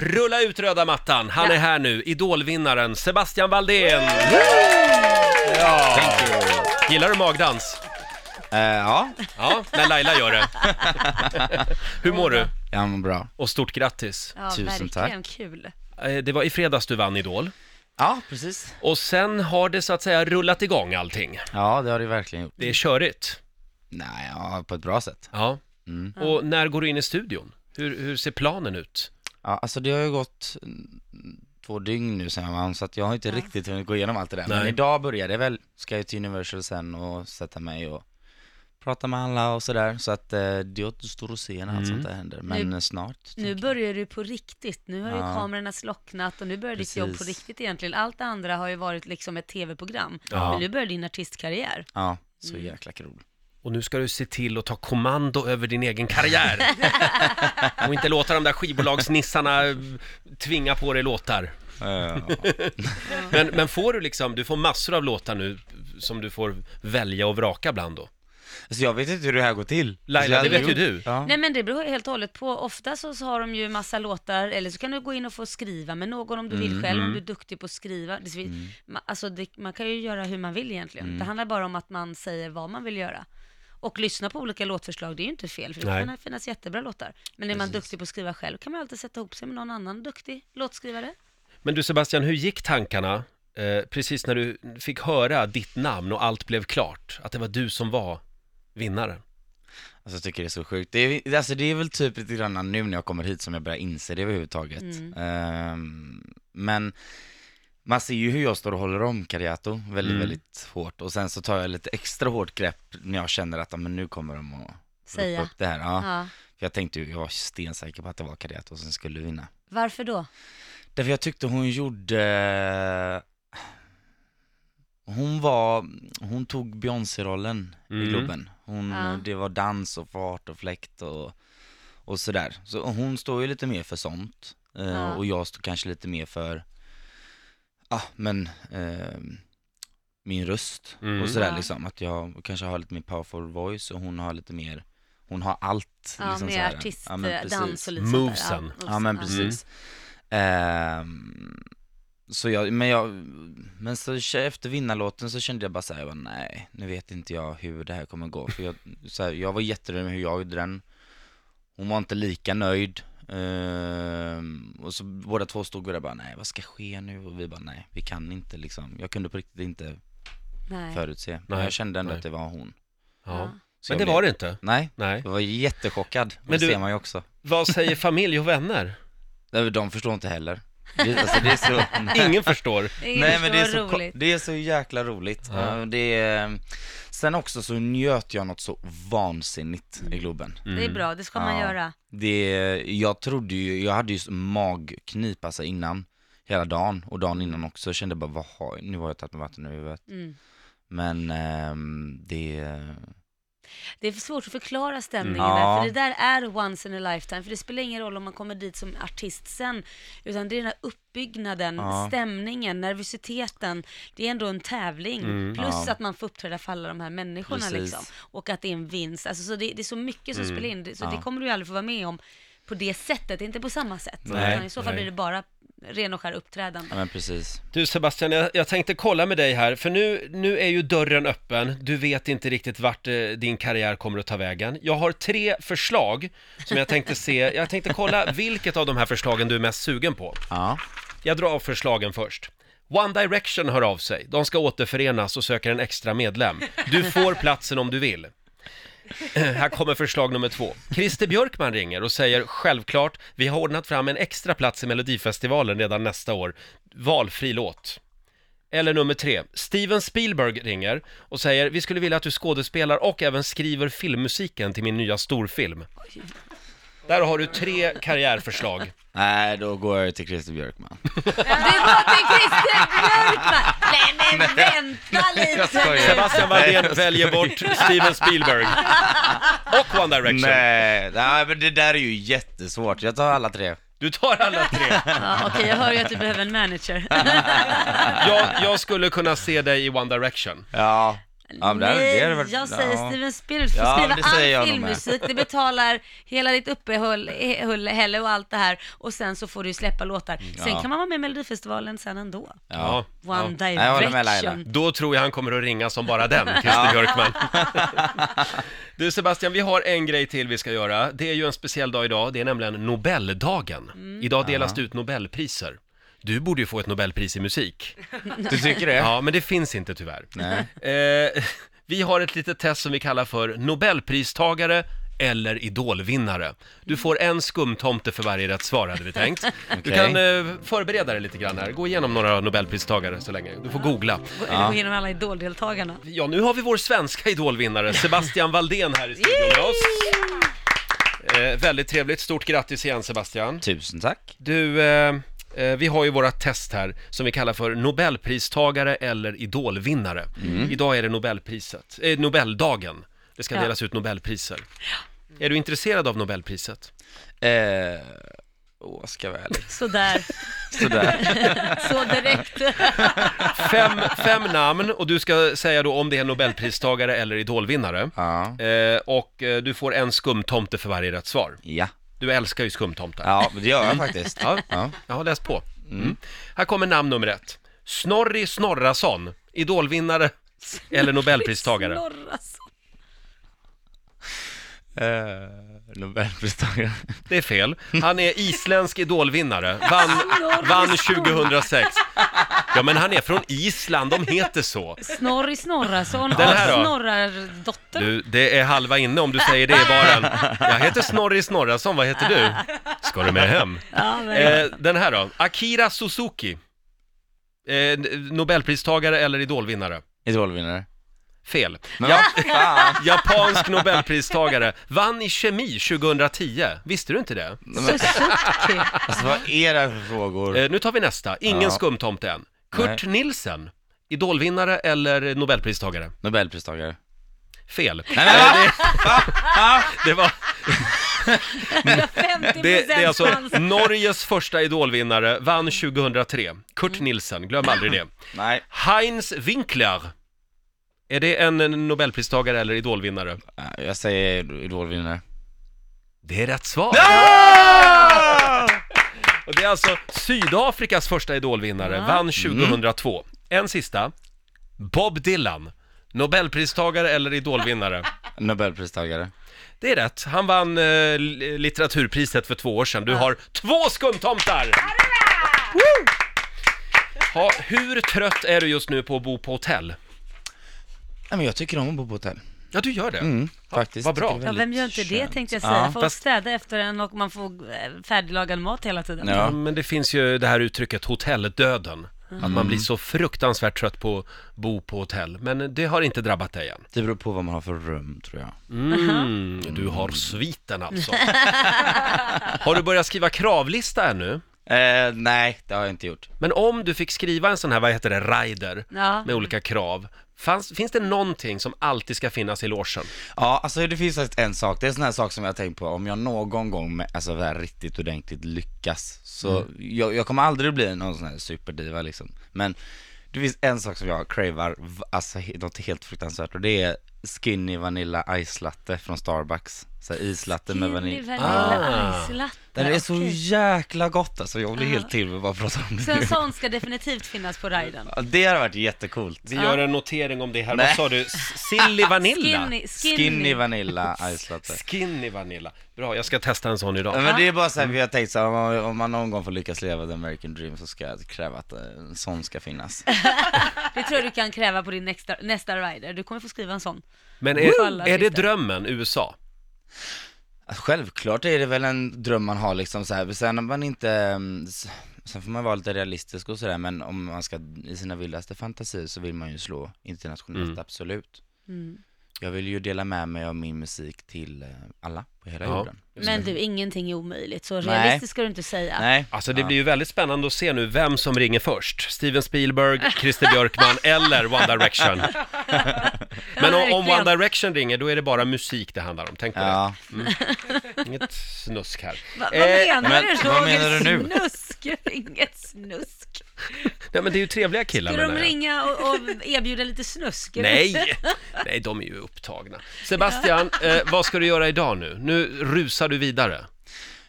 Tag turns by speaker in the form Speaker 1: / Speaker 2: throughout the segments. Speaker 1: Rulla ut röda mattan, han
Speaker 2: Ja.
Speaker 1: är här nu, idolvinnaren Sebastian Valdén!
Speaker 3: Ja.
Speaker 1: Gillar du magdans?
Speaker 3: Eh, ja,
Speaker 1: Ja, när Laila gör det. Hur mår du?
Speaker 3: jag mår bra.
Speaker 1: Och stort grattis!
Speaker 2: Ja,
Speaker 3: Tusen
Speaker 2: verkligen kul.
Speaker 1: Eh, Det var i fredags du vann Idol
Speaker 3: Ja, precis.
Speaker 1: och sen har det så att säga rullat igång allting.
Speaker 3: Ja, det har du verkligen gjort.
Speaker 1: Det är körigt.
Speaker 3: Nej, ja, på ett bra sätt.
Speaker 1: Ja.
Speaker 3: Mm.
Speaker 1: Och när går du in i studion? Hur, hur ser planen ut?
Speaker 3: Ja, alltså det har ju gått mm, två dygn nu sen jag vann, så att jag har inte
Speaker 2: Ja.
Speaker 3: riktigt hunnit gå igenom allt det där. Men
Speaker 1: Nej.
Speaker 3: idag börjar det väl. Ska jag till Universal sen och sätta mig och prata med alla och sådär. Så att eh, det återstår att se när allt
Speaker 1: Mm.
Speaker 3: sånt där händer. Men
Speaker 2: Nu-
Speaker 3: eh, snart.
Speaker 2: Nu
Speaker 3: tänker
Speaker 2: börjar du på riktigt. Nu har ju
Speaker 3: Ja.
Speaker 2: kamerorna slocknat och nu börjar ditt jobb på
Speaker 3: Precis.
Speaker 2: riktigt egentligen. Allt det andra har ju varit liksom ett tv-program.
Speaker 1: Ja.
Speaker 2: Men nu börjar din artistkarriär.
Speaker 3: jag. Ja, så
Speaker 2: Mm.
Speaker 3: jäkla kul.
Speaker 1: Och nu ska du se till att ta kommando över din egen karriär. och inte låta de där skivbolagsnissarna eh, tvinga på dig låtar.
Speaker 3: Eh,
Speaker 1: Men, men får du liksom, du får massor av låtar nu som du får välja och vraka bland då?
Speaker 3: alltså jag vet inte hur det här går till.
Speaker 1: Laila,
Speaker 3: Alltså, jag
Speaker 1: det
Speaker 3: hade
Speaker 1: vet ju du.
Speaker 3: Ja.
Speaker 2: Nej men det beror helt och hållet på. Ofta så så har de ju massa låtar, eller så kan du gå in och få skriva med någon om du
Speaker 3: Mm,
Speaker 2: vill själv, om du är duktig på att skriva. Det, ma, alltså det, man kan ju göra hur man vill egentligen.
Speaker 3: Mm.
Speaker 2: Det handlar bara om att man säger vad man vill göra. Och lyssna på olika låtförslag, det är ju inte fel, för det
Speaker 1: Nej.
Speaker 2: kan finnas jättebra låtar. Men är man duktig på att skriva själv kan man alltid sätta ihop sig med någon annan duktig låtskrivare.
Speaker 1: Men du Sebastian, hur gick tankarna eh, precis när du fick höra ditt namn och allt blev klart? Att det var du som var vinnaren?
Speaker 3: Alltså jag tycker det är så sjukt. Det är, alltså, det är väl typ lite grann nu när jag kommer hit som jag börjar inse det överhuvudtaget.
Speaker 2: Mm.
Speaker 3: Ehm, men man ser ju hur jag står och håller om Cariato väldigt,
Speaker 1: Mm.
Speaker 3: väldigt hårt. Och sen så tar jag lite extra hårt grepp när jag känner att ah, men nu kommer de att
Speaker 2: Säga.
Speaker 3: ropa upp det här. Ja.
Speaker 2: Ja.
Speaker 3: För jag tänkte ju, jag var stensäker på att det var Cariato som skulle vinna.
Speaker 2: Varför då?
Speaker 3: Därför jag tyckte hon gjorde... Hon var, hon tog Beyoncé-rollen
Speaker 1: Mm.
Speaker 3: i Globen. Hon, eh,
Speaker 2: Ja.
Speaker 3: Det var dans och fart och fläkt och, och sådär. Så hon står ju lite mer för sånt. eh,
Speaker 2: Ja.
Speaker 3: Och jag står kanske lite mer för, ja men, ehm, min röst
Speaker 1: Mm.
Speaker 3: och sådär
Speaker 2: Ja.
Speaker 3: liksom. Att jag kanske har lite mer powerful voice och hon har lite mer, hon har allt.
Speaker 2: Ja,
Speaker 3: liksom
Speaker 2: med
Speaker 3: såhär.
Speaker 2: artist,
Speaker 3: Ja, men
Speaker 2: eh,
Speaker 3: precis.
Speaker 2: dans och lite sånt där.
Speaker 1: Movesen.
Speaker 3: Ja men precis. Ehm, så jag, men jag, men så k- efter vinnarlåten så kände jag bara såhär, jag bara, nej, nu vet inte jag hur det här kommer gå. För jag, så här, jag var jättenöjd med hur jag gjorde den. Hon var inte lika nöjd. Ehm, och så båda två stod och där bara, nej vad ska ske nu? Och vi bara, nej vi kan inte liksom. Jag kunde på riktigt inte
Speaker 2: Nej.
Speaker 3: förutse. Men
Speaker 1: Nej,
Speaker 3: jag kände ändå
Speaker 1: nej.
Speaker 3: att det var hon.
Speaker 1: Ja.
Speaker 3: Så
Speaker 1: Men det
Speaker 3: jag blev-
Speaker 1: var det inte.
Speaker 3: Nej,
Speaker 1: Nej.
Speaker 3: jag var jättechockad.
Speaker 1: Men
Speaker 3: Men
Speaker 1: du-
Speaker 3: Det ser man ju också.
Speaker 1: Vad säger familj och vänner?
Speaker 3: Nej, men De förstår inte heller. Det, alltså, det är så...
Speaker 1: Ingen förstår.
Speaker 2: Nej, men det är så roligt.
Speaker 3: det är så jäkla roligt.
Speaker 1: Ja.
Speaker 3: Ja. Det är, sen också så njöt jag något så vansinnigt i Globen.
Speaker 2: Det
Speaker 1: Mm.
Speaker 2: är bra, det ska man
Speaker 3: Mm. Ja.
Speaker 2: göra.
Speaker 3: Det, jag trodde ju, jag hade ju så magknip alltså innan, hela dagen och dagen innan också. Jag kände bara, vad har, jag- nu har jag tagit mig vatten över huvudet.
Speaker 2: Mm.
Speaker 3: Men ehm, det,
Speaker 2: Det är för svårt att förklara stämningen
Speaker 3: Mm.
Speaker 2: där,
Speaker 3: Ja.
Speaker 2: för det där är once in a lifetime, för det spelar ingen roll om man kommer dit som artist sen, utan det är den här uppbyggnaden,
Speaker 3: Ja.
Speaker 2: stämningen, nervositeten, det är ändå en tävling,
Speaker 1: Mm.
Speaker 2: plus att man får uppträda för alla de här människorna
Speaker 3: Mm. Precis. Mm.
Speaker 2: liksom, och att det är en vinst, alltså, så det, det är så mycket som spelar in, Det- så
Speaker 3: Ja.
Speaker 2: det kommer du ju aldrig få vara med om på det sättet, inte på samma sätt,
Speaker 1: Nej,
Speaker 2: utan i så fall
Speaker 1: nej.
Speaker 2: blir det bara ren och skär uppträdande.
Speaker 3: ja men precis.
Speaker 1: Du Sebastian, jag, jag tänkte kolla med dig här, för nu, nu är ju dörren öppen. Du vet inte riktigt vart eh, din karriär kommer att ta vägen. Jag har tre förslag som jag tänkte se. Jag tänkte kolla vilket av de här förslagen du är mest sugen på.
Speaker 3: Ja,
Speaker 1: Jag drar av förslagen först. One Direction hör av sig. De ska återförenas och söker en extra medlem. Du får platsen om du vill. Eh, Här kommer förslag nummer två. Christer Björkman ringer och säger självklart, vi har ordnat fram en extra plats i Melodifestivalen redan nästa år. Valfri låt. Eller nummer tre, Steven Spielberg ringer och säger vi skulle vilja att du skådespelar och även skriver filmmusiken till min nya storfilm. Där har du tre karriärförslag.
Speaker 3: nej då går jag till Christer Björkman.
Speaker 2: Det var till Christer Björkman! Nej men vänta lite
Speaker 3: skojar.
Speaker 2: nu!
Speaker 1: Sebastian Valdén väljer bort Steven Spielberg och One Direction.
Speaker 3: Nej, nej men det där är ju jättesvårt. Jag tar alla tre.
Speaker 1: Du tar alla tre.
Speaker 2: Ja, Okej, jag hör ju att du behöver en manager.
Speaker 1: Jag, jag skulle kunna se dig i One Direction.
Speaker 3: Ja, Ja, men det hade-
Speaker 2: Nej,
Speaker 3: det hade varit-
Speaker 2: jag säger
Speaker 3: ja.
Speaker 2: Steven Spielberg, du får
Speaker 3: Ja,
Speaker 2: skriva
Speaker 3: det säger
Speaker 2: all
Speaker 3: jag nog med.
Speaker 2: filmmusik, det betalar hela ditt uppehälle och allt det här och sen så får du ju släppa låtar. Sen
Speaker 3: Mm, Ja.
Speaker 2: kan man vara med i Melodifestivalen sen ändå.
Speaker 1: Ja.
Speaker 2: One
Speaker 3: Nej, jag håller med Laila.
Speaker 2: Direction.
Speaker 1: Då tror jag han kommer att ringa som bara den, Christer Björkman. Du Sebastian, vi har en grej till vi ska göra. Det är ju en speciell dag idag, det är nämligen Nobeldagen.
Speaker 3: Mm.
Speaker 1: Idag delas det ut Nobelpriser. Du borde ju få ett Nobelpris i musik.
Speaker 3: Du tycker det?
Speaker 1: Ja, men det finns inte tyvärr. Eh, vi har ett litet test som vi kallar för Nobelpristagare eller idolvinnare. Du får en skumtomte för varje rätt svar hade vi tänkt. Du
Speaker 3: Okej.
Speaker 1: kan eh, förbereda dig lite grann här, gå igenom några Nobelpristagare så länge. Du får googla.
Speaker 2: Gå gå igenom alla idoldeltagarna.
Speaker 1: Ja, nu har vi vår svenska idolvinnare Sebastian Valdén här i studion med oss. Eh, väldigt trevligt, stort grattis igen Sebastian.
Speaker 3: Tusen tack.
Speaker 1: Du, eh, eh, vi har ju våra test här som vi kallar för Nobelpristagare eller idolvinnare. Idag är det Nobelpriset, eh, Nobeldagen. Det ska
Speaker 2: Ja.
Speaker 1: delas ut Nobelpriser. Är du intresserad av Nobelpriset?
Speaker 3: Eh, åh, ska jag vara ärlig.
Speaker 2: Sådär,
Speaker 3: Sådär.
Speaker 2: så direkt.
Speaker 1: Fem, fem namn och du ska säga då om det är Nobelpristagare eller idolvinnare.
Speaker 3: Ja.
Speaker 1: Eh, och eh, du får en skumtomte för varje rätt svar.
Speaker 3: Ja.
Speaker 1: Du älskar ju skumtomtar.
Speaker 3: Ja, men det gör jag faktiskt.
Speaker 1: Ja.
Speaker 3: Ja.
Speaker 1: Jag har läst på. Mm. Här kommer namn nummer ett. Snorri Snorrason, idolvinnare eller Nobelpristagare.
Speaker 2: Snorrason.
Speaker 3: Eh, Nobelpristagare.
Speaker 1: Det är fel. Han är isländsk idolvinnare. Vann,
Speaker 2: Snorri
Speaker 1: vann
Speaker 2: Snorri.
Speaker 1: 2006. Ja, men han är från Island, de heter så.
Speaker 2: Snorri Snorrason
Speaker 1: Den här då?
Speaker 2: och Snorrardotter.
Speaker 1: Du, det är halva inne om du säger det i baren. Jag heter Snorri Snorrason, vad heter du? Ska du med hem?
Speaker 2: Ja, men,
Speaker 1: Eh, den här då. Akira Suzuki. Eh, Nobelpristagare eller idolvinnare?
Speaker 3: Idolvinnare.
Speaker 1: Fel.
Speaker 3: Men vad fan.
Speaker 1: Japansk nobelpristagare, vann i kemi 2010. Visste du inte det?
Speaker 2: Suzuki.
Speaker 3: Alltså vad är det här för frågor?
Speaker 1: Eh, nu tar vi nästa, ingen
Speaker 3: Mm. Ja.
Speaker 1: skumtomte än. Kurt Nielsen, idolvinnare eller nobelpristagare?
Speaker 3: Nobelpristagare.
Speaker 1: Fel. Eh,
Speaker 3: Nej, men vad-
Speaker 1: Det, var,
Speaker 2: 50
Speaker 1: det, det är alltså
Speaker 2: chans.
Speaker 1: Norges första idolvinnare, vann 2003. Kurt Nielsen, glöm aldrig det.
Speaker 3: Nej.
Speaker 1: Heinz Winkler, är det en nobelpristagare eller idolvinnare?
Speaker 3: Eh, Jag säger idolvinnare.
Speaker 1: Det är rätt svar! Och det är alltså Sydafrikas första idolvinnare,
Speaker 2: Ja.
Speaker 1: vann 2002. En sista. Bob Dylan, Nobelpristagare eller idolvinnare?
Speaker 3: Nobelpristagare.
Speaker 1: Det är rätt, han vann eh, li- litteraturpriset för två år sedan. Du har två skumtomtar! Woo! Ja, hur trött är du just nu på att bo på hotell?
Speaker 3: Nej men jag tycker om att bo på hotell.
Speaker 1: Ja, du gör det.
Speaker 3: Mm, faktiskt.
Speaker 1: vad bra.
Speaker 3: Tycker det är
Speaker 2: Ja, vem
Speaker 3: väldigt
Speaker 2: gör inte det
Speaker 3: skönt.
Speaker 2: tänkte jag säga.
Speaker 3: Ja,
Speaker 2: Folk
Speaker 1: fast-
Speaker 2: städar efter en och man får eh, färdiglagad mat hela tiden.
Speaker 1: Ja,
Speaker 3: Ja.
Speaker 1: men det finns ju det här uttrycket hotelldöden. Att man blir så fruktansvärt trött på att bo på hotell. Men det har inte drabbat dig än.
Speaker 3: Det beror på vad man har för rum tror jag.
Speaker 1: Mm, du har sviten alltså. har du börjat skriva kravlista ännu?
Speaker 3: Eh, nej, det har jag inte gjort.
Speaker 1: Men om du fick skriva en sån här, vad heter det, rider
Speaker 2: Ja.
Speaker 1: med olika krav. Fanns, finns det någonting som alltid ska finnas i logen?
Speaker 3: Ja, alltså det finns faktiskt en sak, det är en sån här sak som jag har tänkt på, om jag någon gång, med, alltså där riktigt ordentligt lyckas, så jag, jag kommer aldrig bli någon sån här superdiva liksom, men det finns en sak som jag cravar, v- alltså he- något helt fruktansvärt, och det är skinny vanilla ice latte från Starbucks, så här islatte med
Speaker 2: Vanilj,
Speaker 3: vanilj.
Speaker 1: Ah.
Speaker 2: vanilla, islatte.
Speaker 3: Den är så
Speaker 2: Okej.
Speaker 3: jäkla gott alltså, jag blir helt till med att bara prata om
Speaker 2: Så
Speaker 3: det
Speaker 2: en
Speaker 3: nu.
Speaker 2: sån ska definitivt finnas på riden.
Speaker 3: Ja, Det hade varit jättecoolt.
Speaker 1: Vi gör en notering om det här. Vad
Speaker 3: Nej.
Speaker 1: sa du? S- Silly vanilla?
Speaker 2: Skinny, skinny.
Speaker 3: Skinny vanilla ice latte.
Speaker 1: Skinny vanilla. Bra, jag ska testa en sån idag.
Speaker 3: Ja, men det är bara så här,
Speaker 1: Mm.
Speaker 3: vi har tänkt så här, om man- om man någon gång får lyckas leva the American dream så ska jag kräva att eh, en sån ska finnas.
Speaker 2: Det tror jag du kan kräva på din nästa, nästa rider. Du kommer få skriva en sån.
Speaker 1: Men
Speaker 2: Woo!
Speaker 1: är,
Speaker 2: Alla
Speaker 1: är det
Speaker 2: sitter.
Speaker 1: drömmen, USA?
Speaker 3: Självklart är det väl en dröm man har liksom så här, sen om man inte, mm, s- sen får man vara lite realistisk och sådär, men om man ska i sina vildaste fantasier så vill man ju slå internationellt,
Speaker 1: Mm.
Speaker 3: absolut. Jag vill ju dela med mig av min musik till eh, alla på hela
Speaker 1: Ja.
Speaker 3: jorden.
Speaker 2: Men du, ingenting är omöjligt. Så
Speaker 3: Nej.
Speaker 2: realistiskt ska du inte säga.
Speaker 3: Nej,
Speaker 1: Alltså det blir ju väldigt spännande att se nu vem som ringer först. Steven Spielberg, Christer Björkman eller One Direction. Men om, om One Direction ringer, då är det bara musik det handlar om. Tänk på
Speaker 3: ja.
Speaker 1: det. Inget snusk här.
Speaker 2: Va, vad
Speaker 1: Eh,
Speaker 2: menar
Speaker 3: men
Speaker 2: du?
Speaker 3: vad menar du nu?
Speaker 2: Snusk, inget snusk.
Speaker 1: Nej men det är ju trevliga killar
Speaker 2: Skulle de
Speaker 1: menar jag.
Speaker 2: ringa och, och erbjuda lite snusk? eller?
Speaker 1: Nej, nej de är ju upptagna. Sebastian, eh, vad ska du göra idag nu? Nu rusar du vidare.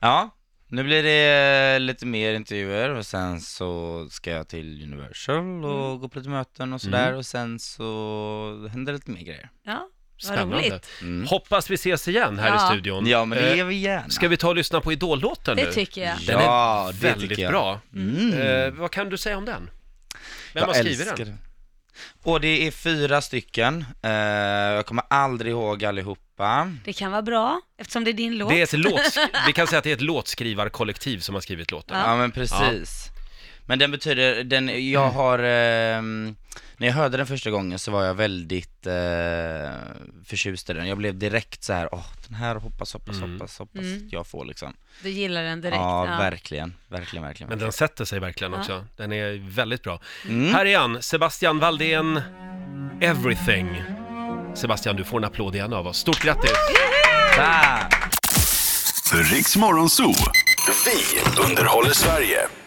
Speaker 3: Ja, nu blir det eh, lite mer intervjuer och sen så ska jag till Universal och
Speaker 1: Mm.
Speaker 3: gå på lite möten och sådär och sen så händer det lite mer grejer.
Speaker 2: Ja, vad
Speaker 1: Spännande.
Speaker 2: roligt.
Speaker 3: Mm.
Speaker 1: Hoppas vi ses igen här
Speaker 2: Ja.
Speaker 1: i studion.
Speaker 3: Ja, men det
Speaker 1: Eh,
Speaker 3: gör vi gärna.
Speaker 1: Ska vi ta och lyssna på Idol-låten nu?
Speaker 2: Det tycker jag.
Speaker 1: Den
Speaker 3: Ja,
Speaker 1: är
Speaker 3: det
Speaker 1: väldigt
Speaker 3: tycker jag.
Speaker 1: bra.
Speaker 3: Mm.
Speaker 1: Eh, vad kan du säga om den? Vem har skrivit den?
Speaker 3: Och det är fyra stycken. Eh, jag kommer aldrig ihåg allihopa.
Speaker 2: Det kan vara bra, eftersom det är din låt.
Speaker 1: Det är ett låts... Vi kan säga att det är ett låtskrivarkollektiv som har skrivit låten.
Speaker 2: Ja.
Speaker 3: Ja, men precis. Men den betyder, den, jag har, ehm, när jag hörde den första gången så var jag väldigt eh, förtjust i den. Jag blev direkt så här, åh den här hoppas, hoppas,
Speaker 1: Mm.
Speaker 3: hoppas, hoppas
Speaker 2: Mm.
Speaker 3: jag får liksom.
Speaker 2: Du gillar den direkt.
Speaker 3: ja,
Speaker 2: ja.
Speaker 3: verkligen, verkligen, verkligen.
Speaker 1: Men den sätter sig verkligen
Speaker 2: Ja.
Speaker 1: också. Den är väldigt bra.
Speaker 3: Mm.
Speaker 1: Här är han, Sebastian Valdén, Everything. Sebastian, du får en applåd igen av oss. Stort grattis!
Speaker 3: Fan.
Speaker 4: Riks Morgonzoo. Vi underhåller Sverige.